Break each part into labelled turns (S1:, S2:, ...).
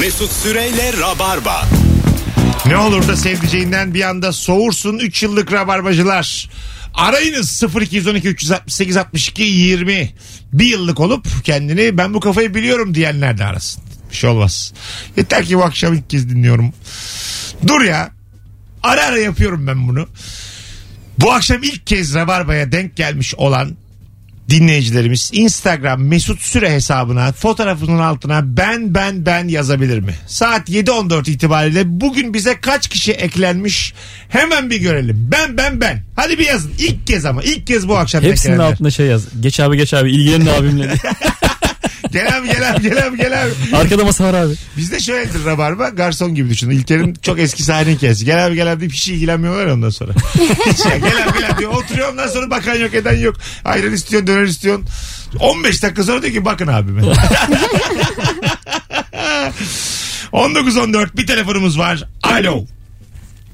S1: Mesut Süreyle Rabarba.
S2: Ne olur da sevdiceğinden bir anda soğursun 3 yıllık rabarbacılar. Arayınız 0212 368 62 20. Bir yıllık olup kendini ben bu kafayı biliyorum diyenler de arasın. Bir şey olmaz. Yeter ki bu akşam ilk kez dinliyorum. Dur ya. Ara ara yapıyorum ben bunu. Bu akşam ilk kez Rabarba'ya denk gelmiş olan dinleyicilerimiz Instagram mesut süre hesabına fotoğrafının altına ben ben ben yazabilir mi? Saat 7.14 itibariyle bugün bize kaç kişi eklenmiş hemen bir görelim. Ben ben ben. Hadi bir yazın. İlk kez ama ilk kez bu akşam
S3: Hepsinin
S2: eklenenler.
S3: altına şey yaz. Geç abi geç abi ilgilenin abimle. diye.
S2: Gel abi gel abi gel abi gel abi.
S3: Arkada masa var abi.
S2: Bizde şöyledir rabarba garson gibi düşün. İlker'in çok eski sahne hikayesi. Gel abi gel abi deyip hiç ilgilenmiyorlar ya ondan sonra. Hiç ya, gel abi gel abi diyor. Oturuyor ondan sonra bakan yok eden yok. Ayran istiyorsun döner istiyorsun. 15 dakika sonra diyor ki bakın abime. 19-14 bir telefonumuz var. Alo.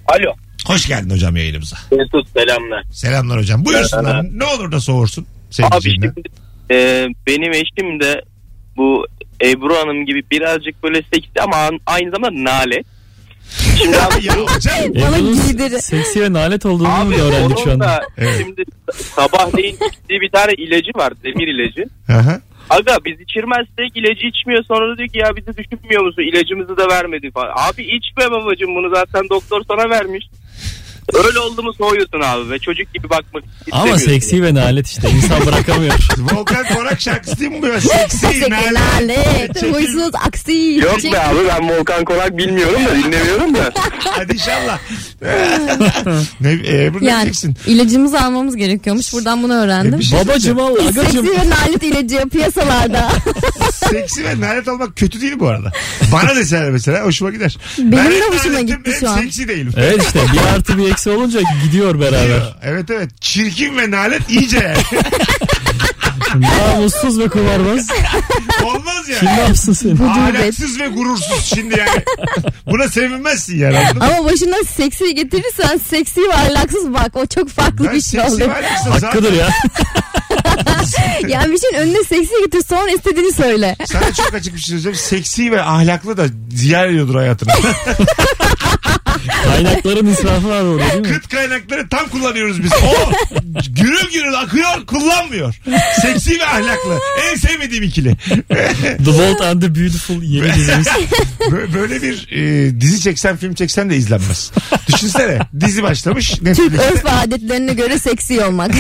S4: Alo.
S2: Hoş geldin hocam yayınımıza.
S4: Mesut selamlar.
S2: Selamlar hocam. Buyursunlar. Ne olur da soğursun.
S4: Abi
S2: Sevgicinden.
S4: şimdi, e, benim eşim de bu Ebru Hanım gibi birazcık böyle seksi ama an- aynı zamanda nale. Şimdi abi,
S2: Ya hocam.
S5: Bana
S3: Ebru'nun
S5: giydir.
S3: Seksi ve nalet olduğunu
S4: abi
S3: da öğrendik şu
S4: onun
S3: anda.
S4: da
S2: Evet.
S4: şimdi sabahleyin içtiği bir tane ilacı var demir ilacı.
S2: Aha.
S4: Aga biz içirmezsek ilacı içmiyor sonra da diyor ki ya bizi düşünmüyor musun ilacımızı da vermedi falan. Abi içme babacım bunu zaten doktor sana vermiş. Öyle oldu mu soğuyorsun abi ve çocuk gibi bakmak istemiyorsun.
S3: Ama seksi ve nalet işte insan bırakamıyor.
S4: şey
S2: Volkan Konak şarkısı değil mi bu? ya? Seksi, nalet.
S5: Lanet.
S2: Çekil.
S5: Huysuz aksi.
S4: Yok
S5: Çek-
S4: be abi ben Volkan Konak bilmiyorum da dinlemiyorum da.
S2: Hadi inşallah. ne, e, bunu
S5: Yani
S2: diyeceksin.
S5: ilacımızı almams gerekiyormuş. Buradan bunu
S2: E,
S5: öğrendim.
S2: bir şey
S3: Babacım Allah
S5: Seksi
S3: agacım.
S5: ve nalet ilacı piyasalarda.
S2: Seksi ve nalet olmak kötü değil bu arada. Bana deseler mesela hoşuma gider.
S5: Benim de
S2: Nalet
S5: hoşuma
S2: naletim,
S5: gitti
S2: hem
S5: şu an.
S2: Seksi değilim.
S3: Evet işte bir artı bir eksi olunca gidiyor beraber.
S2: Evet evet. Çirkin ve nalet iyice yani.
S3: Namussuz ve kumarbaz.
S2: Olmaz
S3: Kim ne
S2: yani.
S3: yapsın seni?
S2: Ahlaksız ve gurursuz şimdi yani. Buna sevinmezsin yani. anladın mı?
S5: Ama başına seksi getirirsen seksi ve ahlaksız bak. O çok farklı
S2: Ben
S5: bir şey
S2: seksi ve
S5: oluyor.
S2: ahlaksız
S3: Hakkıdır
S2: zaten.
S3: ya.
S5: Yani bir şeyin önüne seksi getir sonra istediğini söyle.
S2: Sana çok açık bir şey söyleyeceğim. Seksi ve ahlaklı da ziyan ediyordur hayatını.
S3: Kaynakların israfı var orada değil mi?
S2: Kıt kaynakları tam kullanıyoruz biz. O gürül gürül akıyor kullanmıyor. Seksi ve ahlaklı. En sevmediğim ikili.
S3: The Bold and the Beautiful yeni dizimiz.
S2: Bö- Böyle bir e, dizi çeksen film çeksen de izlenmez. Düşünsene dizi başlamış.
S5: Türk
S2: Netflix'te
S5: örf ve adetlerine göre seksi olmak.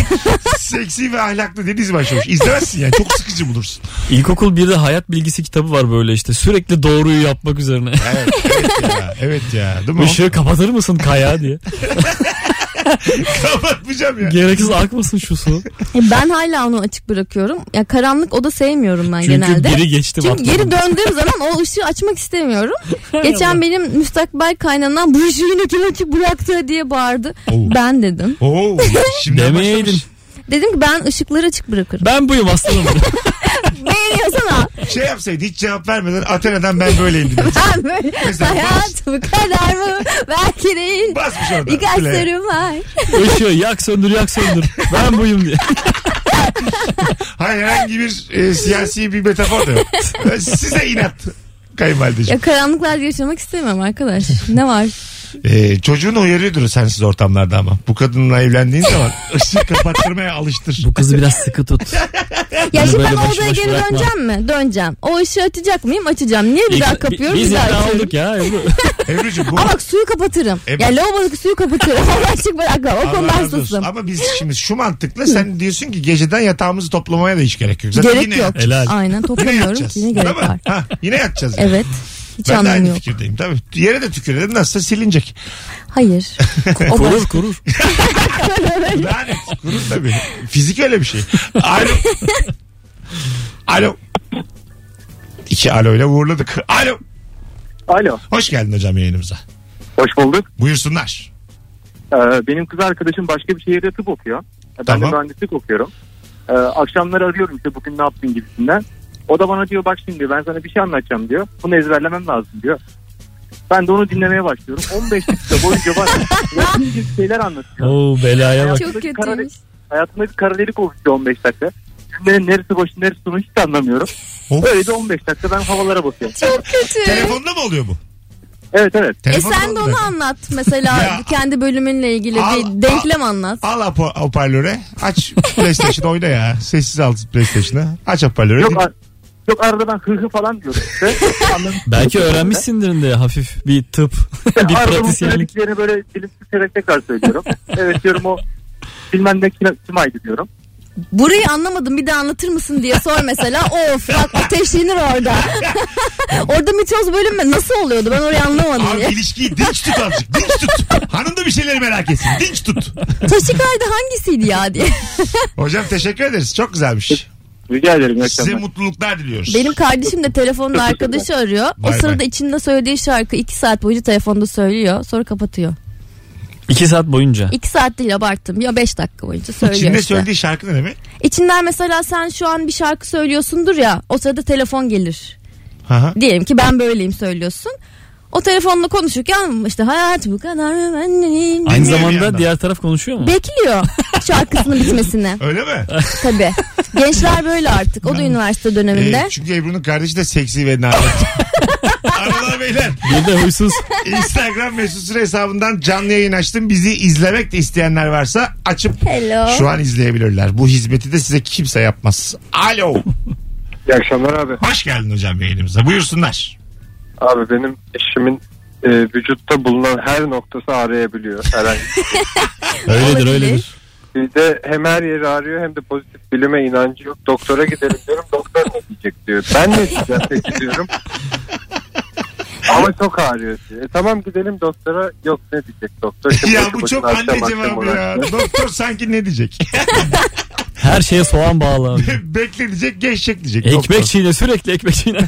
S2: seksi ve ahlaklı diye dizi başlamış. İzlemezsin yani çok sıkıcı bulursun.
S3: İlkokul 1'de hayat bilgisi kitabı var böyle işte. Sürekli doğruyu yapmak üzerine.
S2: Evet, evet ya. Evet ya. Değil mi?
S3: Işığı kapatır mısın kaya diye.
S2: Kapatmayacağım ya.
S3: Gereksiz akmasın şu su.
S5: E, ben hala onu açık bırakıyorum. Ya karanlık oda sevmiyorum ben
S3: Çünkü
S5: genelde.
S3: biri geçti
S5: Çünkü
S3: batmadı.
S5: geri döndüğüm zaman o ışığı açmak istemiyorum. Geçen benim müstakbel kaynanam bu ışığı yine kim açık bıraktı diye bağırdı.
S2: Oo.
S5: Ben dedim.
S2: Oo, şimdi
S3: Demeyeydin.
S5: Dedim ki ben ışıkları açık bırakırım.
S3: Ben buyum aslanım.
S5: Beğeniyorsana.
S2: Şey yapsaydı hiç cevap vermeden Athena'dan ben böyleyim dedi.
S5: Ben böyle
S2: Mesela
S5: hayat bu kadar mı? Belki değil.
S2: Basmış orada.
S5: Birkaç
S2: Play.
S5: sorum var.
S3: Işığı yak söndür yak söndür. Ben buyum diye.
S2: Hayır herhangi bir e, siyasi bir metafor da yok. Size inat kayınvalideciğim.
S5: Ya karanlıklarda yaşamak istemem arkadaş. Ne var?
S2: Ee, çocuğunu uyarıyordur sensiz ortamlarda ama. Bu kadınla evlendiğin zaman ışık kapattırmaya alıştır.
S3: Bu kızı biraz sıkı tut.
S5: Ya
S3: Bunu
S5: şimdi ben
S3: böyle
S5: o
S3: başı
S5: odaya
S3: başı
S5: geri
S3: bırakma.
S5: döneceğim mi? Döneceğim. O ışığı açacak mıyım? Açacağım. Niye bir daha kapıyorum?
S3: Biz
S5: bir daha
S3: ikna
S5: açıyorum.
S3: olduk ya. Ebru.
S2: Ebru'cum bu...
S5: Ama bak suyu kapatırım.
S2: Evet.
S5: Ya lavabodaki suyu kapatırım. Ama açık bırakmam. O
S2: Allah
S5: konuda
S2: razı olsun.
S5: hassasım.
S2: Ama biz şimdi şu mantıkla sen diyorsun ki geceden yatağımızı toplamaya da hiç gerek yok. Zaten
S5: Gerek
S2: yine,
S5: yok.
S3: Helal.
S5: Aynen
S2: Yine
S5: toplamıyorum
S2: yatacağız.
S5: ki ne
S2: Değil
S5: gerek
S2: mi?
S5: var.
S2: Ha, yine yatacağız. yani.
S5: Evet. Hiç
S2: Ben de
S5: anlamı
S2: aynı
S5: yok.
S2: fikirdeyim tabii. Yere de tükürelim nasılsa silinecek.
S5: Hayır. O
S3: Kurur kurur.
S2: Daha net. Kurur tabii. Fizik öyle bir şey. Alo. Alo. İki alo ile uğurladık. Alo.
S6: Alo.
S2: Hoş geldin hocam yayınımıza.
S6: Hoş bulduk.
S2: Buyursunlar.
S6: Ee, benim kız arkadaşım başka bir şehirde tıp okuyor. Ben
S2: Tamam.
S6: de mühendislik okuyorum. Ee, akşamları arıyorum işte bugün ne yaptın gibisinden. O da bana diyor bak şimdi ben sana bir şey anlatacağım diyor. Bunu ezberlemem lazım diyor. Ben de onu dinlemeye başlıyorum. 15 dakika boyunca bana yapabildiğim şeyler anlatıyor.
S3: Oo belaya bak.
S5: Çok
S6: Karar-
S5: kötüymüş.
S6: Hayatımda bir kara delik oluştu 15 dakika. cümlenin neresi başı neresi sonu hiç de anlamıyorum.
S2: Of.
S6: Böyle de 15 dakika ben havalara basıyorum.
S5: Çok kötü.
S2: Telefonda mı oluyor bu?
S6: Evet evet.
S5: E
S2: Telefonda
S5: sen de
S2: oluyor.
S5: onu anlat mesela
S2: Ya.
S5: kendi bölümünle ilgili
S2: Al-
S5: bir denklem anlat.
S2: Al hop- hoparlöre. Aç PlayStation oyna ya. Sessiz al PlayStation'ı. Aç hoparlörü.
S6: Yok, ar- yok arada ben hırhı falan diyorum işte. Anladın mı?
S3: Belki öğrenmişsindir de hafif bir tıp, bir
S6: Arada bu
S3: pratisyenlik.
S6: söylediklerini böyle dilim sürerek tekrar söylüyorum. evet diyorum o bilmem ne kime- kim aydı diyorum.
S5: Burayı anlamadım bir de anlatır mısın diye sor mesela. of bak ateşlenir orada. orada mitoz bölünme nasıl oluyordu ben orayı anlamadım
S2: Abi
S5: ya.
S2: ilişkiyi dinç tut azıcık. Dinç tut. Hanım da bir şeyleri merak etsin. Dinç tut.
S5: Taşikardi hangisiydi ya diye.
S2: Hocam teşekkür ederiz. Çok güzelmiş.
S6: Rica ederim. iyi
S2: Size
S6: akşamlar.
S2: mutluluklar diliyoruz.
S5: Benim kardeşim de telefonla arkadaşı arıyor. O
S2: Vay
S5: sırada
S2: vay.
S5: içinde söylediği şarkı 2 saat boyunca telefonda söylüyor. Sonra kapatıyor.
S3: İki saat boyunca.
S5: 2 saat değil abarttım. Ya 5 dakika boyunca söylüyor
S2: İçinde
S5: işte.
S2: söylediği şarkı ne demek?
S5: İçinden mesela sen şu an bir şarkı söylüyorsundur ya. O sırada telefon gelir.
S2: Hı hı.
S5: Diyelim ki ben böyleyim söylüyorsun. O telefonla konuşurken işte hayat bu kadar önemli.
S3: Aynı
S2: Dinliyor bir
S3: zamanda
S2: yandan.
S3: diğer taraf konuşuyor mu?
S5: Bekliyor şarkısının bitmesini
S2: Öyle mi?
S5: tabi. Gençler böyle artık. O da üniversite döneminde.
S2: Ee, çünkü Ebru'nun kardeşi de seksi ve nalet. Aralar beyler.
S3: Bir de huysuz.
S2: Instagram mesut süre hesabından canlı yayın açtım. Bizi izlemek de isteyenler varsa açıp
S5: Hello.
S2: şu an izleyebilirler. Bu hizmeti de size kimse yapmaz. Alo.
S7: İyi akşamlar abi.
S2: Hoş geldin hocam yayınımıza. Buyursunlar.
S7: Abi benim eşimin e, vücutta bulunan her noktası ağrıyabiliyor herhangi. bir-
S3: Öyledir
S5: Olabilir.
S3: öyledir.
S7: Bir de hem her yeri ağrıyor hem de pozitif bilime inancı yok. Doktora gidelim diyorum. Doktor ne diyecek diyor. Ben ne diyeceğim peki diyorum. Ama çok ağrıyor diyor. E, tamam gidelim doktora. Yok ne diyecek doktor. Şimdi
S2: ya
S7: boşu
S2: bu
S7: boşuna
S2: çok
S7: akşam
S2: anne
S7: akşam
S2: cevabı
S7: uğraşıyor.
S2: ya. Doktor sanki ne diyecek?
S3: Her şeye soğan bağlı abi.
S2: Bekle diyecek, geçecek diyecek. doktor.
S3: Ekmek çiğne sürekli ekmek çiğne.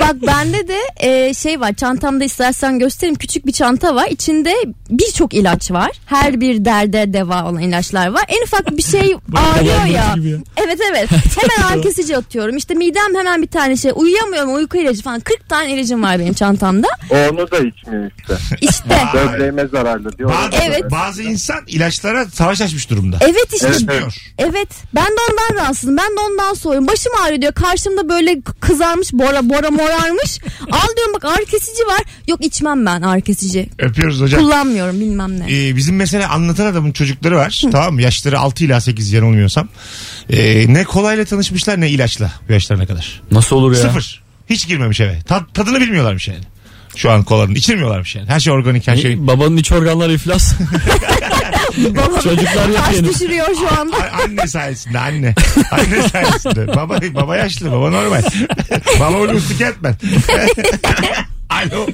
S5: Bak bende de e, şey var çantamda istersen göstereyim küçük bir çanta var. İçinde birçok ilaç var. Her bir derde deva olan ilaçlar var. En ufak bir şey ağrıyor
S3: kalan
S5: ya.
S3: ilaç gibi ya.
S5: Evet evet. Hemen ağrı kesici atıyorum. İşte midem hemen bir tane şey. Uyuyamıyorum uyku ilacı falan. 40 tane ilacım var benim çantamda.
S7: Onu da içmiyor işte.
S5: İşte.
S2: Vay.
S7: Böbreğime zararlı diyor.
S2: Bazı,
S5: Evet.
S2: bazı insan ilaçlara savaş açmış durumda.
S5: Evet işte
S7: Evet, evet.
S2: Diyor.
S5: Evet ben de ondan rahatsızım ben de ondan soğuyorum başım ağrıyor diyor karşımda böyle kızarmış bora bora morarmış al diyorum bak ağrı kesici var yok içmem ben ağrı kesici
S2: Öpüyoruz hocam.
S5: kullanmıyorum bilmem ne
S2: Ee, bizim mesela anlatan adamın çocukları var. Tamam mı? Yaşları 6 ila 8 yanılmıyorsam. Ee, ne kolayla tanışmışlar ne ilaçla bu yaşlarına kadar.
S3: Nasıl olur ya?
S2: Sıfır. Hiç girmemiş eve. Ta- tadını bilmiyorlarmış yani. Şu an kolanın. İçirmiyorlarmış yani. Her şey organik her şey.
S3: E, Babanın iç organları iflas.
S5: Babam
S3: Çocuklar yok
S5: taş
S3: henüz.
S5: düşürüyor şu anda
S2: A- anne sayesinde anne. Anne sayesinde. Baba, baba yaşlı baba normal. baba onu tüketmez. Alo.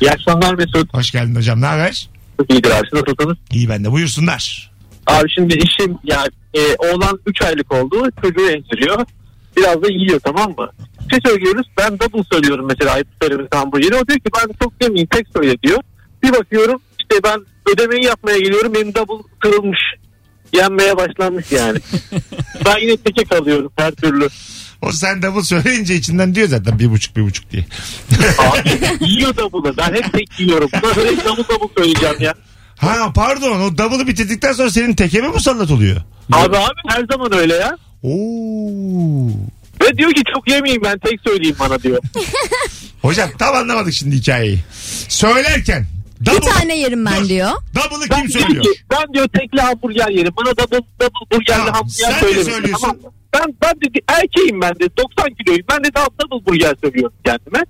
S6: İyi akşamlar Mesut.
S2: Hoş geldin hocam. Ne haber?
S6: Çok iyidir abi. Siz nasılsınız?
S2: İyi ben de. Buyursunlar.
S6: Abi şimdi işim yani e, oğlan 3 aylık oldu çocuğu emziriyor. Biraz da yiyor tamam mı? Bir şey söylüyoruz ben double söylüyorum mesela ayıp söylüyorum hamburgeri. O diyor ki ben çok yemeyin tek söyle diyor. Bir bakıyorum işte ben ödemeyi yapmaya geliyorum benim double kırılmış. Yenmeye başlanmış yani. ben yine teke kalıyorum her türlü.
S2: O sen de bu söyleyince içinden diyor zaten bir buçuk bir buçuk diye.
S6: Abi yiyor double'ı ben hep tek yiyorum. Buna böyle double double söyleyeceğim ya.
S2: Ha pardon o double'ı bitirdikten sonra senin teke mi musallat oluyor?
S6: Abi abi her zaman öyle ya.
S2: Oo.
S6: Ve diyor ki çok yemeyeyim ben tek söyleyeyim bana diyor.
S2: Hocam tam anlamadık şimdi hikayeyi. Söylerken double,
S5: bir tane yerim ben
S2: Dur.
S5: diyor
S2: double'ı
S6: Ben
S2: kim
S6: diyor
S2: söylüyor?
S6: ki, ben diyor tekli hamburger yerim. Bana da double, double burgerli
S2: Tamam, sen de
S6: hamburger söylemiş.
S2: söylüyorsun.
S6: Tamam. mı? Ben, ben de erkeğim ben de 90 kiloyum. Ben de double, double burger söylüyorum kendime.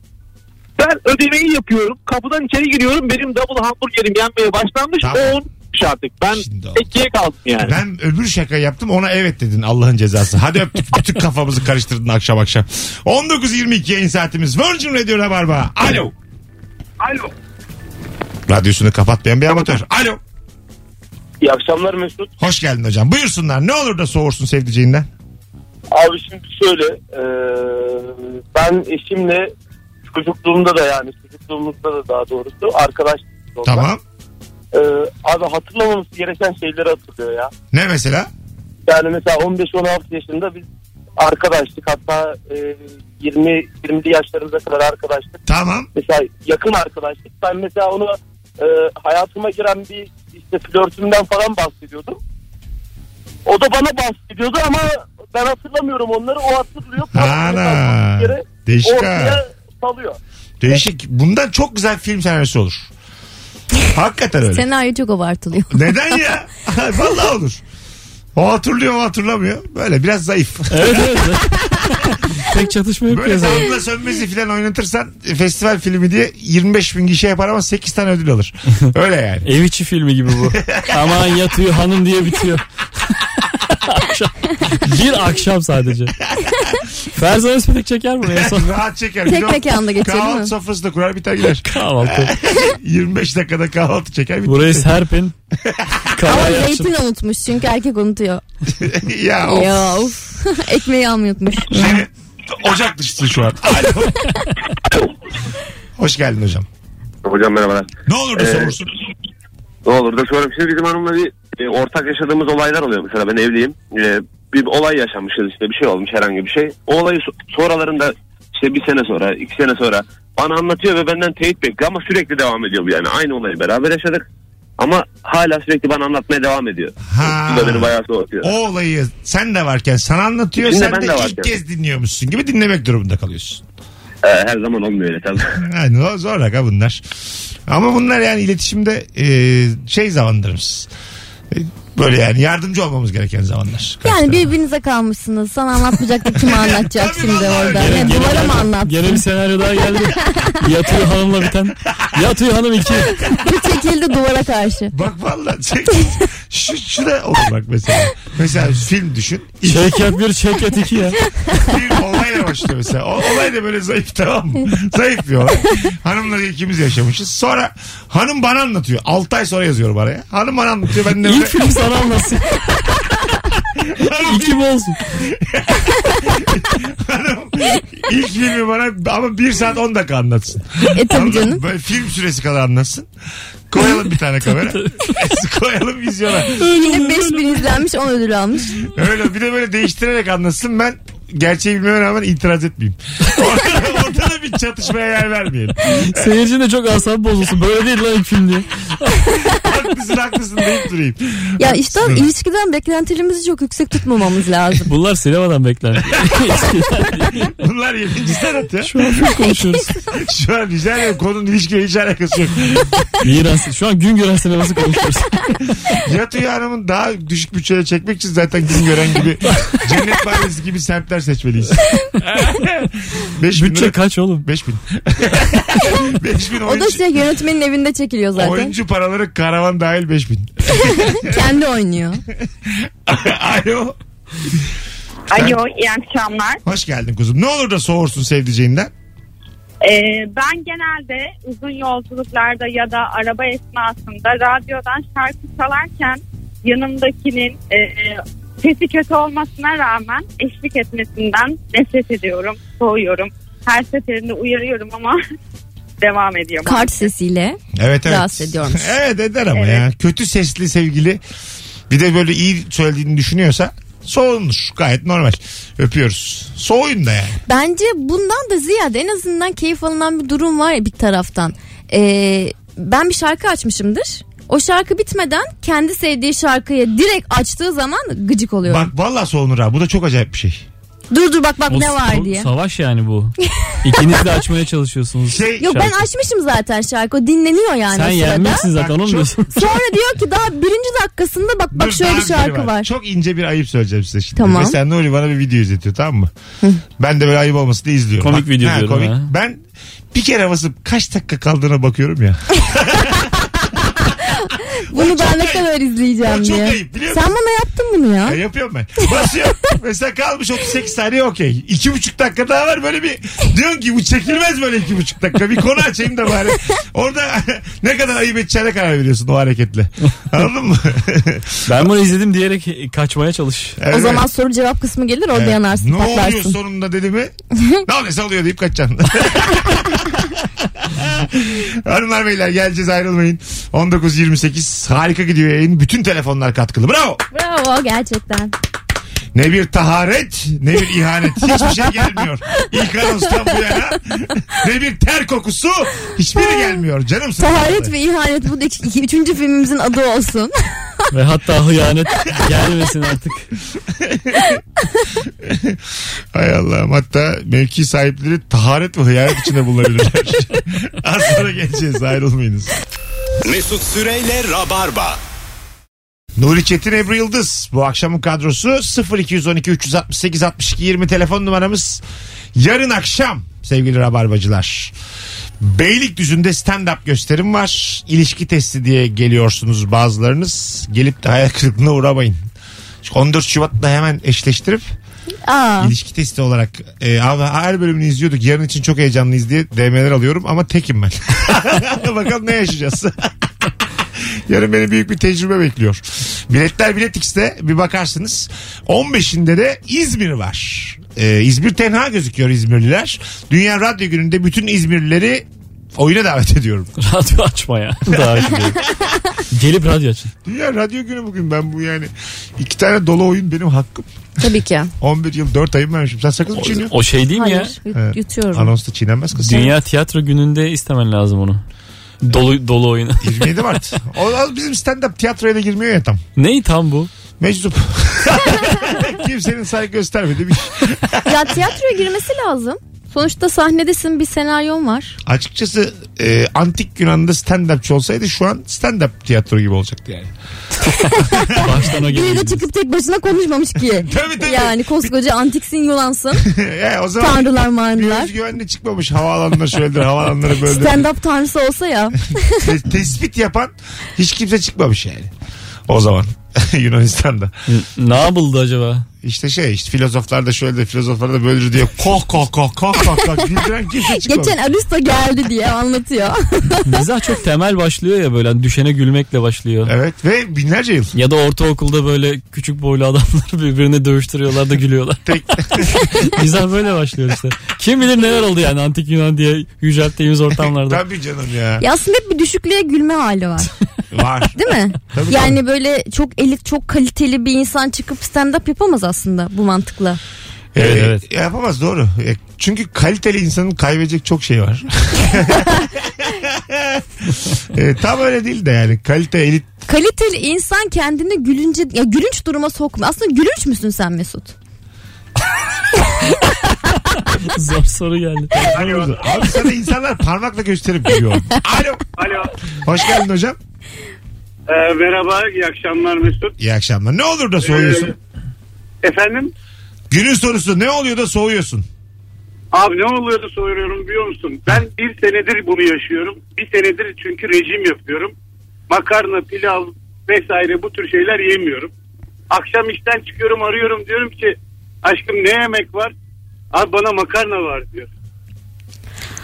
S6: Ben ödemeyi yapıyorum. Kapıdan içeri giriyorum. Benim double hamburgerim yenmeye başlanmış.
S2: Tamam.
S6: O olmuş artık. Ben
S2: Şimdi oldu.
S6: tekiye kaldım yani.
S2: Ben öbür şaka yaptım ona evet dedin Allah'ın cezası. Hadi öptük bütün kafamızı karıştırdın akşam akşam. 19.22 yayın saatimiz Virgin Radio Rabarba. Alo.
S4: Alo.
S2: Radyosunu kapatmayan bir amatör. Alo.
S4: İyi akşamlar Mesut.
S2: Hoş geldin hocam. Buyursunlar ne olur da soğursun sevdiceğinden.
S4: Abi şimdi şöyle e, ben eşimle çocukluğumda da yani çocukluğumuzda da daha doğrusu arkadaş
S2: Tamam.
S4: E, abi hatırlamamız gereken şeyleri hatırlıyor ya.
S2: Ne mesela?
S4: Yani mesela 15-16 yaşında biz arkadaştık hatta e, 20 20'li yaşlarımıza kadar arkadaştık.
S2: Tamam.
S4: Mesela yakın arkadaşlık. Ben mesela onu e, hayatıma giren bir işte flörtümden falan bahsediyordum. O da bana bahsediyordu ama ben hatırlamıyorum onları. O hatırlıyor.
S2: Ana. Değişik ha.
S4: Ortaya salıyor.
S2: Değişik. Bundan çok güzel film senaryosu olur. Hakikaten öyle.
S5: Senaryo çok abartılıyor.
S2: Neden ya? Vallahi olur. O hatırlıyor o hatırlamıyor. Böyle biraz zayıf.
S3: Evet evet. Pek çatışma yok
S2: Böyle
S3: ya zaten.
S2: damla sönmezi falan oynatırsan e, festival filmi diye 25 bin gişe yapar ama 8 tane ödül alır. Öyle yani.
S3: Ev içi filmi gibi bu. Aman yatıyor hanım diye bitiyor. Akşam- bir akşam sadece. Ferzan Özpetek çeker bunu en son.
S2: Rahat çeker.
S5: Tek
S2: Bir de o
S5: mekanda geçer, değil
S2: Kahvaltı
S5: mi?
S2: sofrası da kurar biter gider.
S3: Kahvaltı.
S2: 25 dakikada kahvaltı çeker biter.
S3: Burayı serpin.
S5: Ama
S3: Kavayı açın.
S5: zeytin unutmuş çünkü erkek unutuyor.
S2: ya of.
S5: Ya of. Ekmeği almayı unutmuş.
S2: Seni ocak dışısın şu an. Alo. Hoş geldin hocam.
S7: Hocam merhabalar.
S2: Ne olur da
S7: Ee,
S2: savursun.
S7: Ne olur da sorayım. Şimdi bizim hanımla bir e, ortak yaşadığımız olaylar oluyor. Mesela ben evliyim. E, bir olay yaşanmışız işte bir şey olmuş herhangi bir şey. O olayı so- sonralarında işte bir sene sonra iki sene sonra bana anlatıyor ve benden teyit bekliyor ama sürekli devam ediyor bu yani. Aynı olayı beraber yaşadık ama hala sürekli bana anlatmaya devam ediyor.
S2: Ha.
S7: Bu da beni bayağı soğutuyor.
S2: O olayı sen de varken sana anlatıyor.
S7: İçinde
S2: sen
S7: ben
S2: de,
S7: de varken.
S2: ilk kez dinliyormuşsun gibi dinlemek durumunda kalıyorsun.
S7: E, her zaman olmuyor öyle tabii.
S2: Yani o zor aga bunlar. Ama bunlar yani iletişimde e, şey zamanlarımız. E, Böyle yani yardımcı olmamız gereken zamanlar.
S5: Yani birbirinize kalmışsınız. Sana anlatmayacak da kime anlatacak
S2: Tabii
S5: şimdi
S2: vallahi.
S5: orada?
S2: Gene-
S5: Yani
S3: gene-
S5: duvara mı anlat?
S3: Gene bir senaryo daha geldi. Yatıyor hanımla biten. Yatıyor hanım iki.
S5: Bir çekildi duvara karşı.
S2: Bak valla şu, şu da olur bak mesela. Mesela film düşün. İlk
S3: Şevket bir şevket iki ya.
S2: bir olayla başlıyor mesela. O olay da böyle zayıf tamam mı? Zayıf bir olay. Hanımla ikimiz yaşamışız. Sonra hanım bana anlatıyor. 6 ay sonra yazıyorum araya. Hanım bana anlatıyor. Ben de böyle,
S3: İlk film sana anlatsın.
S2: hanım,
S3: İki mi olsun?
S2: hanım, ilk filmi bana ama 1 saat 10 dakika anlatsın.
S5: E tabii
S2: Anladın mı?
S5: canım.
S2: Böyle film süresi kadar anlatsın. Koyalım bir tane kamera. Koyalım vizyona.
S5: Şimdi 5000 izlenmiş 10 ödül almış.
S2: Öyle bir de böyle değiştirerek anlatsın ben gerçeği bilmeme rağmen itiraz etmeyeyim. Ortada, ortada bir çatışmaya yer vermeyelim.
S3: Seyircinin de çok asabı bozulsun. Böyle değil lan ilk film diye.
S2: Haklısın haklısın deyip durayım.
S5: Ya işte
S2: Haklısın.
S5: ilişkiden beklentilerimizi çok yüksek tutmamamız lazım.
S3: Bunlar sinemadan bekler.
S2: Bunlar 7. sanat ya.
S3: Şu an film konuşuyoruz.
S2: Şu an rica ederim konunun ilişkiyle hiç alakası yok.
S3: Miran, şu an gün gören sineması konuşuyoruz.
S2: Yatıyor hanımın daha düşük bütçeyle çekmek için zaten gün gören gibi cennet mahallesi gibi semtler seçmeliyiz. 5 bin
S3: Bütçe
S2: lira.
S3: kaç oğlum?
S2: 5 bin. 5 bin
S5: O da
S2: oyuncu,
S5: şey yönetmenin evinde çekiliyor zaten.
S2: oyuncu paraları karavan dahil 5 bin.
S5: Kendi oynuyor.
S2: Alo.
S8: Alo iyi akşamlar.
S2: Hoş geldin kuzum. Ne olur da soğursun sevdiceğinden.
S8: Ee, ben genelde uzun yolculuklarda ya da araba esnasında radyodan şarkı çalarken yanımdakinin e, sesi kötü olmasına rağmen eşlik etmesinden nefret ediyorum, soğuyorum. Her seferinde uyarıyorum ama devam ediyor.
S5: Kart sesiyle.
S2: Evet evet.
S5: Rahatsız ediyormuş.
S2: Evet eder ama
S8: Evet.
S2: ya. Kötü sesli sevgili bir de böyle iyi söylediğini düşünüyorsa soğunur. Gayet normal. Öpüyoruz. Soğuyun da yani.
S5: Bence bundan da ziyade en azından keyif alınan bir durum var ya bir taraftan. Ee, ben bir şarkı açmışımdır. O şarkı bitmeden kendi sevdiği şarkıyı direkt açtığı zaman gıcık oluyorum.
S2: Bak valla soğunur ha. Bu da çok acayip bir şey.
S5: Dur dur bak bak
S3: O
S5: ne var
S3: sa-
S5: diye.
S3: Savaş yani bu. İkiniz de açmaya çalışıyorsunuz.
S2: Şey,
S5: Yok ben açmışım zaten şarkı. O dinleniyor yani
S3: Sen
S5: o Hani sırada.
S3: yenmeksin zaten
S2: Bak,
S3: onu mu
S2: çok-
S3: diyorsun?
S5: Sonra diyor ki daha birinci dakikasında bak bak
S2: Dur,
S5: şöyle
S2: daha
S5: bir şarkı
S2: biri
S5: var.
S2: Çok ince bir ayıp söyleyeceğim size şimdi.
S5: Tamam.
S2: Mesela Nuri bana bir video izletiyor tamam mı? ben de böyle ayıp olmasın diye izliyorum.
S3: Komik video diyorum ha.
S2: Ben bir kere basıp kaç dakika kaldığına bakıyorum ya.
S5: Bunu ben ne
S2: ayıp.
S5: kadar
S2: O
S5: izleyeceğim
S2: çok
S5: diye.
S2: ayıp, biliyor
S5: Sen bana yaptın bunu ya.
S2: Ya yapıyorum ben. Basıyorum. Mesela kalmış 38 saniye okey. 2,5 dakika daha var böyle bir. Diyorsun ki bu çekilmez böyle 2,5 dakika. Bir konu açayım da bari. Orada ne kadar ayıp edeceğine karar veriyorsun o hareketle. Anladın mı?
S3: Ben bunu izledim diyerek kaçmaya çalış.
S5: O
S2: Evet.
S5: zaman soru cevap kısmı gelir orada
S2: Evet.
S5: yanarsın
S2: Ne oluyor
S5: patlarsın.
S2: sonunda dedi mi? ne oluyorsa oluyor deyip kaçacaksın. Hanımlar beyler geleceğiz ayrılmayın. 19.28 harika gidiyor yayın. Bütün telefonlar katkılı. Bravo.
S5: Bravo gerçekten.
S2: Ne bir taharet ne bir ihanet. Hiçbir şey gelmiyor. İlk anonstan bu yana. ne bir ter kokusu. Hiçbiri gelmiyor. Canımsın.
S5: Taharet ve ihanet bu da iki- iki- üçüncü filmimizin adı olsun.
S3: Ve hatta hıyanet gelmesin artık.
S2: Hay Allah'ım hatta mevki sahipleri taharet ve hıyanet içinde bulunabilirler. Az sonra geleceğiz ayrılmayınız.
S1: Mesut Süreyle Rabarba.
S2: Nuri Çetin Ebru Yıldız bu akşamın kadrosu 0212 368 62 20 telefon numaramız. Yarın akşam sevgili Rabarbacılar. Beylikdüzü'nde stand-up gösterim var. İlişki testi diye geliyorsunuz bazılarınız. Gelip de hayal kırıklığına uğramayın. 14 Şubat'ta hemen eşleştirip
S5: Aa,
S2: ilişki testi olarak e, ama her bölümünü izliyorduk. Yarın için çok heyecanlıyız diye DM'ler alıyorum ama tekim ben. Bakalım ne yaşayacağız. Yarın beni büyük bir tecrübe bekliyor. Biletler Bilet X'te bir bakarsınız. 15'inde de İzmir var. E, İzmir tenha gözüküyor İzmirliler. Dünya Radyo Günü'nde bütün İzmirlileri oyuna davet ediyorum.
S3: Radyo açma ya. Daha iyi değil. Gelip radyo açın.
S2: Dünya Radyo Günü bugün ben bu yani. iki tane dolu oyun benim hakkım.
S5: tabii ki.
S2: 11 yıl 4 ayım vermişim. Sen sakız mı
S3: O,
S2: çiğniyorsun?
S3: o şey değil mi ya?
S5: Hayır, yut-
S2: Evet.
S5: yutuyorum.
S2: Anonsta çiğnenmez kız.
S3: Dünya tiyatro gününde istemen lazım onu. Dolu dolu oyunu.
S2: 27 Mart. O, o bizim stand-up tiyatroya da girmiyor ya tam.
S3: Ney tam bu?
S2: Meczup. Kimsenin saygı göstermedi. Bir...
S5: ya tiyatroya girmesi lazım. Sonuçta sahnedesin bir senaryon var.
S2: Açıkçası e, antik Yunan'da stand-upçı olsaydı şu an stand-up tiyatro gibi olacaktı yani.
S3: Baştan o
S5: Biri de
S3: geliyor.
S5: çıkıp tek başına konuşmamış ki.
S2: Tabii, tabii.
S5: Yani koskoca antiksin Yunan'sın.
S2: E, o zaman
S5: Tanrılar
S2: bir
S5: manrılar.
S2: özgüvenle çıkmamış havaalanına şöyledir havaalanları böyledir.
S5: Stand up tanrısı olsa ya.
S2: Te- tespit yapan hiç kimse çıkmamış yani. O zaman Yunanistan'da.
S3: Ne yapıldı acaba?
S2: İşte şey işte filozoflar da şöyle de filozoflar da böyledir diye koh koh koh koh koh koh güldüren kimse çıkmamış.
S5: Geçen Aristo geldi diye anlatıyor.
S3: Mizah çok temel başlıyor ya böyle. Hani düşene gülmekle başlıyor.
S2: Evet ve binlerce yıl.
S3: Ya da ortaokulda böyle küçük boylu adamlar birbirini dövüştürüyorlar da gülüyorlar.
S2: Tek-
S3: Mizah böyle başlıyor işte. Kim bilir neler oldu yani antik Yunan diye yücelttiğimiz ortamlarda.
S2: Tabii canım ya.
S5: ya aslında hep bir düşüklüğe gülme hali var.
S2: Var.
S5: Değil mi?
S2: Tabii
S5: yani böyle çok elit, çok kaliteli bir insan çıkıp stand up yapamaz aslında bu mantıkla.
S3: Evet,
S2: Ee,
S3: evet.
S2: Yapamaz doğru. E, Çünkü kaliteli insanın kaybedecek çok şey var. E, tam öyle değil de yani kalite elit
S5: Kaliteli insan kendini gülünce ya gülünç duruma sokma. Aslında gülünç müsün sen Mesut?
S3: Zor soru geldi.
S2: Alo. Abi sana insanlar parmakla gösterip gülüyor. Alo.
S9: Alo. Ee,
S2: Hoş geldin hocam.
S9: merhaba, iyi akşamlar Mesut. Ee,
S2: İyi akşamlar. Ne olur da soğuyorsun.
S9: Efendim?
S2: Günün sorusu ne oluyor da soğuyorsun?
S9: Abi ne oluyor da soruyorum biliyor musun? Ben bir senedir bunu yaşıyorum. Bir senedir çünkü rejim yapıyorum. Makarna, pilav vesaire bu tür şeyler yemiyorum. Akşam işten çıkıyorum arıyorum diyorum ki aşkım ne yemek var? Abi bana makarna var diyor.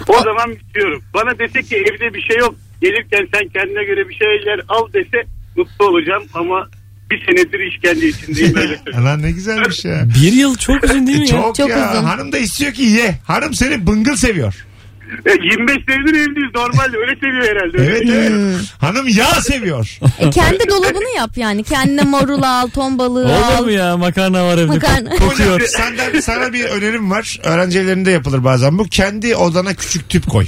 S9: O zaman istiyorum. Bana dese ki evde bir şey yok. Gelirken sen kendine göre bir şeyler al dese mutlu olacağım ama bir senedir işkence içindeyim öyle söyleyeyim.
S2: Lan ne güzelmiş ya.
S3: Bir yıl çok uzun değil mi ya?
S2: Çok,
S5: Çok
S2: ya.
S5: uzun.
S2: Hanım da istiyor ki ye. Hanım seni bıngıl seviyor.
S9: Ya 25 E, senedir evliyiz normal öyle seviyor herhalde. Öyle
S2: Evet evet. Hanım yağ seviyor.
S5: E kendi dolabını yap yani. Kendine marul al, ton balığı
S3: Olur
S5: al.
S3: mu ya makarna var evde
S5: Makarna.
S3: kokuyor.
S2: Senden, sana bir önerim var. Öğrencilerinde yapılır bazen bu. Kendi odana küçük tüp koy.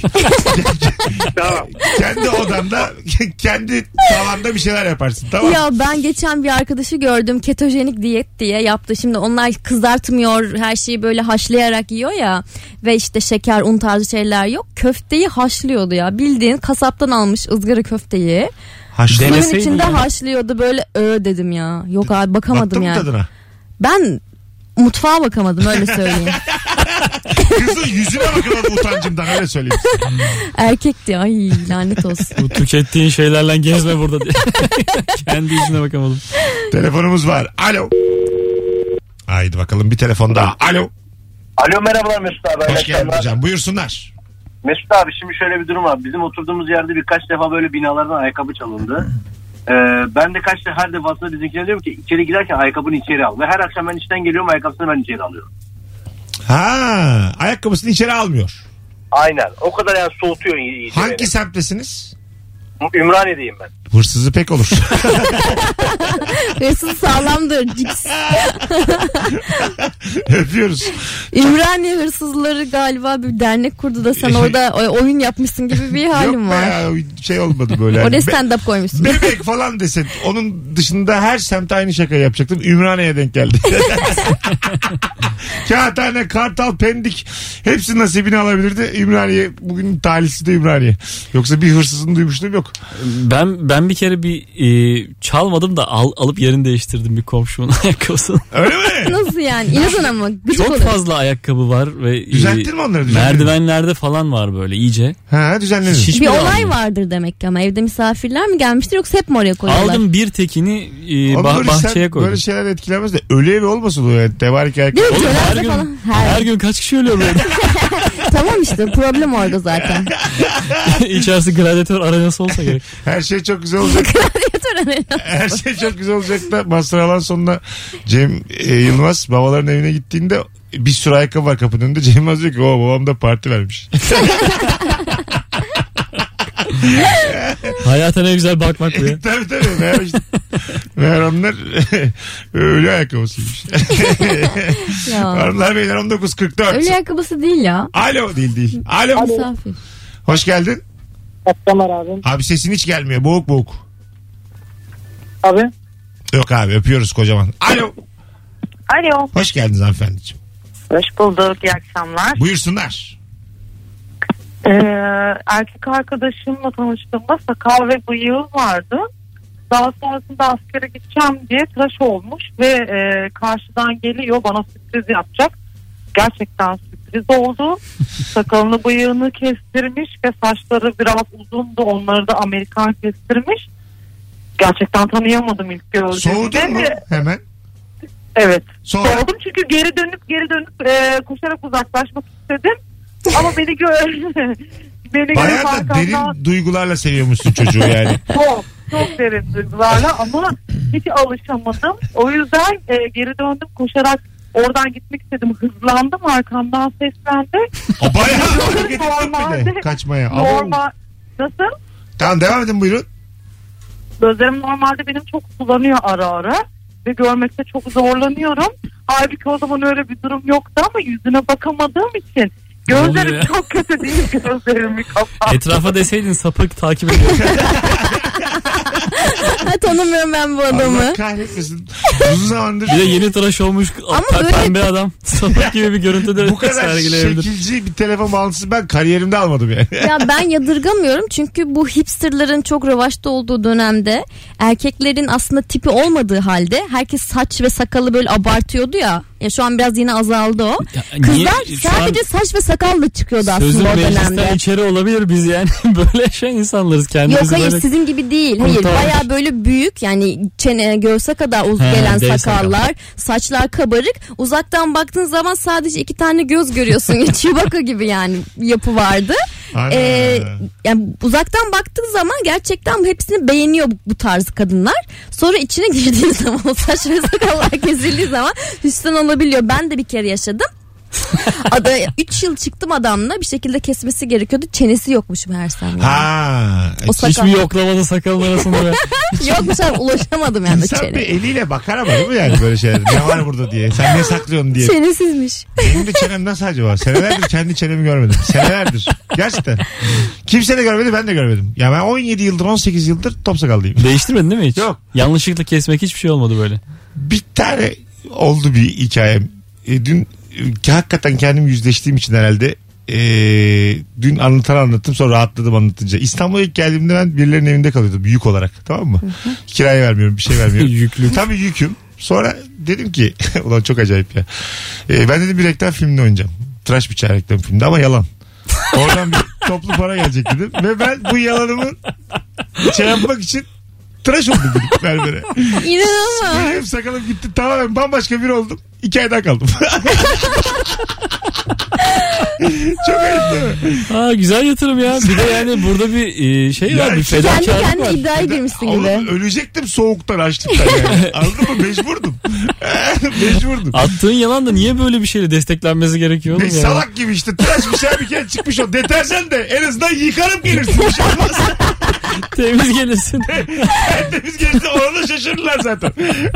S9: Tamam.
S2: kendi odanda, kendi tavanda bir şeyler yaparsın. Tamam.
S5: Ya ben geçen bir arkadaşı gördüm ketojenik diyet diye yaptı. Şimdi onlar kızartmıyor her şeyi böyle haşlayarak yiyor ya ve işte şeker un tarzı şeyler yok. Köfteyi haşlıyordu ya bildiğin kasaptan almış ızgara köfteyi.
S2: Haşlı.
S3: Dene-
S5: Suyun
S3: Deneseydin
S5: içinde
S3: ya.
S5: haşlıyordu böyle ö dedim ya. Yok abi
S2: Baktın
S5: bakamadım
S2: mı
S5: yani.
S2: tadına?
S5: Ben mutfağa bakamadım öyle söyleyeyim.
S2: Kızın yüzüne bakamadım utancımdan öyle söyleyeyim. size.
S5: Erkekti ay lanet olsun.
S3: Bu tükettiğin şeylerle gezme burada diye. Kendi yüzüne bakamadım.
S2: Telefonumuz var. Alo. Haydi bakalım bir telefon daha. Alo.
S6: Alo merhabalar Mesut abi.
S2: Hoş geldin hocam. Buyursunlar.
S6: Mesut abi şimdi şöyle bir durum var. Bizim oturduğumuz yerde birkaç defa böyle binalardan ayakkabı çalındı. Ee, ben de kaç defa her defasında bizimkine diyorum ki içeri girerken ayakkabını içeri al. Ve her akşam ben içten geliyorum ayakkabısını ben içeri alıyorum.
S2: Ha, ayakkabısını içeri almıyor.
S6: Aynen. O kadar yani soğutuyor. iyice
S2: Hangi
S6: beni.
S2: semttesiniz?
S4: Ümraniye'deyim ben.
S2: Hırsızı pek olur.
S5: Hırsız sağlamdır. Cips.
S2: Öpüyoruz.
S5: Ümraniye hırsızları galiba bir dernek kurdu da sen orada o- oyun yapmışsın gibi bir halim
S2: Yok be
S5: var.
S2: ya, şey olmadı böyle.
S5: Oraya
S2: Hani be-
S5: stand up koymuşsun.
S2: Bebek falan desin. Onun dışında her semte aynı şaka yapacaktım. Ümraniye'ye denk geldi. Kağıthane, Kartal, Pendik hepsi nasibini alabilirdi. Ümraniye bugün talihsiz de Ümraniye. Yoksa bir hırsızın duymuşluğum yok.
S3: Ben ben bir kere bir e, çalmadım da al- alıp yerini değiştirdim bir komşumun ayakkabısını.
S2: Öyle mi?
S5: Nasıl yani? İnadın ama gıcık
S3: Çok
S5: olur.
S3: fazla ayakkabı var ve e,
S2: Düzelttin mi onları? Düzelttin mi?
S3: merdivenlerde falan var böyle iyice.
S2: Ha düzenledim.
S3: Hiç-
S5: bir
S3: Hiçbir
S5: olay
S3: anlamı.
S5: vardır demek ki ama evde misafirler mi gelmiştir yoksa hep mi oraya koyuyorlar?
S3: Aldım bir tekini e,
S2: Oğlum
S3: bah-
S2: böyle sen
S3: bahçeye koydum.
S2: Böyle şeyler etkilemez de ölü evi olmasın o yani. Tevarik erkek.
S5: Değil mi?
S3: Oğlum her
S5: Cenaze
S3: gün,
S5: falan.
S3: her.
S5: Her.
S3: gün kaç kişi ölüyor böyle?
S5: tamam işte problem orada zaten.
S3: İçerisi gladyatör arenası olsa gerek.
S2: Her şey çok güzel olacak. Her şey çok güzel olacak da Master Alan sonuna Cem e, Yılmaz babaların evine gittiğinde bir sürü ayakkabı var kapının önünde. Cem Yılmaz diyor ki o babam da parti vermiş.
S3: Hayata ne güzel bakmak bu ya.
S2: tabii tabii. Meğer, işte, meğer onlar ölü ayakkabısıymış.
S5: ya.
S2: Hanımlar beyler 19.44.
S5: Öyle ayakkabısı değil ya.
S2: Alo değil değil. Alo.
S5: Misafir.
S2: Hoş geldin.
S6: Akşamlar abi.
S2: Abi sesin hiç gelmiyor. Boğuk boğuk.
S6: Abi.
S2: Yok abi öpüyoruz kocaman. Alo.
S8: Alo.
S2: Hoş geldiniz hanımefendiciğim.
S8: Hoş bulduk. İyi akşamlar.
S2: Buyursunlar.
S8: Ee, erkek arkadaşımla tanıştığımda sakal ve bıyığım vardı. Daha sonrasında askere gideceğim diye tıraş olmuş ve e, karşıdan geliyor bana sürpriz yapacak. Gerçekten sürpriz oldu. Sakalını bıyığını kestirmiş ve saçları biraz uzundu onları da Amerikan kestirmiş. Gerçekten tanıyamadım ilk gördüğümde.
S2: Soğudun mu
S8: Ve-
S2: hemen?
S8: Evet.
S2: Sonra
S8: Soğudum çünkü geri dönüp geri dönüp e, koşarak uzaklaşmak istedim. Ama beni gör beni
S2: bayağı
S8: görüp
S2: da
S8: arkamdan
S2: derin duygularla seviyormuşsun çocuğu yani.
S8: çok çok derin duygularla ama hiç alışamadım. O yüzden e, geri döndüm koşarak oradan gitmek istedim. Hızlandım arkamdan seslendi.
S2: O bayağı hareket ettin bir de
S8: Normalde-
S2: kaçmaya. Ama-
S8: Normal nasıl?
S2: Tamam devam edin buyurun.
S8: Gözlerim normalde benim çok sulanıyor ara ara ve görmekte çok zorlanıyorum. Halbuki o zaman öyle bir durum yoktu ama yüzüne bakamadığım için
S3: Ne oluyor
S8: gözlerim
S3: ya?
S8: çok kötü değil gözlerimi kapattım.
S3: Etrafa deseydin sapık takip ediyor.
S5: Ha, Tanımıyorum ben bu
S2: Allah
S5: adamı.
S2: kahretmesin. Uzun zamandır
S3: Bir de yeni tıraş olmuş pe-
S5: böyle-
S3: pembe adam. Sapık gibi bir görüntüde
S2: bu kadar
S3: sergileyebilir.
S2: şekilci bir telefon bağlantısı ben kariyerimde almadım yani.
S5: Ya ben yadırgamıyorum çünkü bu hipsterların çok revaçta olduğu dönemde erkeklerin aslında tipi olmadığı halde herkes saç ve sakalı böyle abartıyordu ya. Ya şu an biraz yine azaldı o.
S3: Ya niye-
S5: Kızlar
S3: şu an-
S5: sadece saç ve sakalla çıkıyordu
S3: Sözüm
S5: aslında o dönemde.
S3: meclisten içeri olabilir biz yani. böyle şey insanlarız kendimizi
S5: Yok hayır
S3: böyle.
S5: sizin gibi değil. Hayır
S3: Kurtarmış.
S5: baya böyle büyük yani çene göğse kadar uz
S3: He,
S5: gelen
S3: dev
S5: sakallar, saçlar kabarık. Uzaktan baktığın zaman sadece iki tane göz görüyorsun. Chewbacca gibi yani yapı vardı.
S2: Ana.
S5: Ee, yani uzaktan baktığın zaman gerçekten hepsini beğeniyor bu, bu tarz kadınlar. Sonra içine girdiği zaman o saç ve sakallar kesildiği zaman hüsran olabiliyor. Ben de bir kere yaşadım. Ada 3 yıl çıktım adamla bir şekilde kesmesi gerekiyordu. Çenesi yokmuş meğersem. yani.
S2: Ha.
S5: O
S3: Hiç
S5: sakal.
S3: mi yoklamada sakalın arasında be?
S5: Yokmuş abi ulaşamadım yani
S2: İnsan bir
S5: çene.
S2: eliyle bakar ama değil mi yani böyle şeyler? Ne var burada diye. Sen ne saklıyorsun diye.
S5: Çenesizmiş.
S2: Benim de çenem nasıl acaba? Senelerdir kendi çenemi görmedim. Senelerdir. Gerçekten. Kimse de görmedi ben de görmedim. Ya ben 17 yıldır 18 yıldır top sakallıyım.
S3: Değiştirmedin değil mi hiç?
S2: Yok.
S3: Yanlışlıkla kesmek hiçbir şey olmadı böyle.
S2: Bir tane oldu bir hikayem. E, dün e, ki hakikaten kendim yüzleştiğim için herhalde e, dün anlatan anlattım sonra rahatladım anlatınca. İstanbul'a ilk geldiğimde ben birilerinin evinde kalıyordum yük olarak tamam mı? Kiraya vermiyorum bir şey vermiyorum.
S3: Yüklü.
S2: Tabii yüküm. Sonra dedim ki ulan çok acayip ya. E, ben dedim bir reklam filminde oynayacağım. Tıraş bıçağı reklam filminde ama yalan. Oradan bir toplu para gelecek dedim. Ve ben bu yalanımı şey yapmak için tıraş oldum dedim berbere.
S5: İnanılmaz.
S2: Benim sakalım gitti tamamen bambaşka bir oldum. İki ay daha kaldım. Çok ayıp değil mi?
S3: Ha güzel yatırım ya. Bir de yani burada bir e, şey
S2: Ya
S3: var bir
S2: işte-
S5: Kendi
S3: fedakarlık
S5: kendine
S3: var.
S5: iddiaya girmişsin
S2: Oğlum
S5: gibi.
S2: ölecektim soğuktan açlıktan yani. Anladın mı? Mecburdum. Mecburdum.
S3: Attığın yalan da niye böyle bir şeyle desteklenmesi gerekiyor oğlum
S2: Ne
S3: ya?
S2: salak gibi işte tıraş bir şey bir kere çıkmış o. Deterjan de en azından yıkarım gelirsin. Bir şey olmaz.
S3: Temiz gelirsin.
S2: Biz gelirse orada şaşırırlar zaten.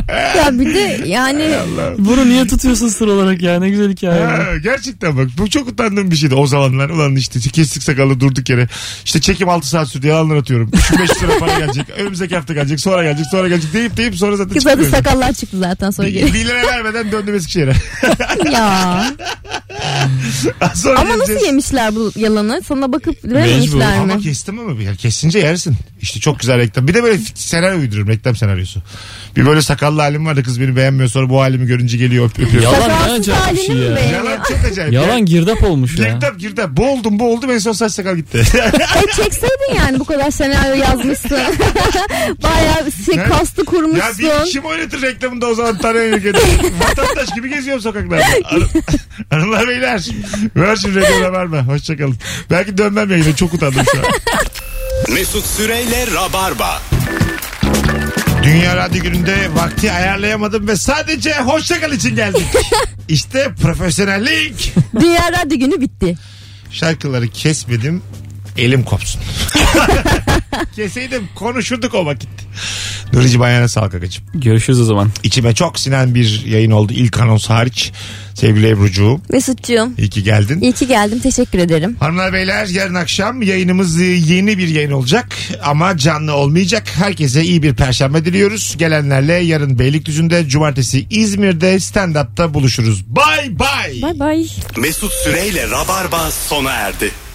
S5: Ya bir de yani
S3: Bunu niye tutuyorsun sır olarak ya? Ne güzel hikaye. ya.
S2: Ha, gerçekten bak bu çok utandığım bir şeydi o zamanlar. Ulan işte kestik sakalı durduk yere. İşte çekim 6 saat sürdü yalanlar atıyorum. 3-5 lira para gelecek. Önümüzdeki hafta gelecek. Sonra gelecek. Sonra gelecek. Deyip deyip sonra zaten
S5: kız adı
S2: çıkmıyorum.
S5: sakallar çıktı zaten sonra
S2: Bir,
S5: geri.
S2: bir lira vermeden döndüm Eskişehir'e.
S5: ya.
S2: Sonra
S5: Ama nasıl
S2: geleceğiz.
S5: yemişler bu yalanı? Sana bakıp
S3: Mecbur.
S5: vermemişler mi?
S2: Ama kestim ama bir yer. Kesince yersin. İşte çok güzel reklam. Bir de böyle senaryo uydururum. Reklam senaryosu. Bir böyle sakallı halim var da kız beni beğenmiyor. Sonra bu halimi görünce geliyor öp, öpüyor.
S3: Yalan. ne
S5: Sakalsız
S3: acayip bir şey
S5: halini mi
S3: ya.
S5: beğeniyor?
S2: Yalan çok acayip.
S3: Yalan girdap olmuş ya.
S2: Girdap girdap. Boğuldum boğuldum en son saç sakal gitti.
S5: E çekseydin yani bu kadar senaryo yazmışsın. Bayağı şey,
S2: Ne?
S5: kastı
S2: ya bir
S5: kurmuşsun.
S2: kim oynatır reklamında o zaman tanıyan ülkede. Vatandaş gibi geziyorum sokaklarda. Ar- Hanımlar beyler. Virgin Radio'da var mı? Hoşçakalın. Belki dönmem yayına çok utandım şu an.
S1: Mesut Süreyle Rabarba.
S2: Dünya Radyo Günü'nde vakti ayarlayamadım ve sadece hoşçakal için geldik. işte profesyonellik.
S5: Dünya Radyo Günü bitti.
S2: Şarkıları kesmedim. Elim kopsun. Keseydim konuşurduk o vakit. Nuri'cim ayağına sağlık kakacığım.
S3: Görüşürüz o zaman.
S2: İçime çok sinen bir yayın oldu ilk anons hariç. Sevgili Ebru'cuğum
S5: Mesut'cuğum
S2: iyi ki geldin.
S5: iyi ki geldim teşekkür ederim.
S2: Hanımlar beyler yarın akşam yayınımız e, yeni bir yayın olacak ama canlı olmayacak. Herkese iyi bir perşembe diliyoruz. Gelenlerle yarın Beylikdüzü'nde, cumartesi İzmir'de stand-up'ta buluşuruz. Bay bay.
S5: Bay bay.
S1: Mesut Süreyle Rabarba sona erdi.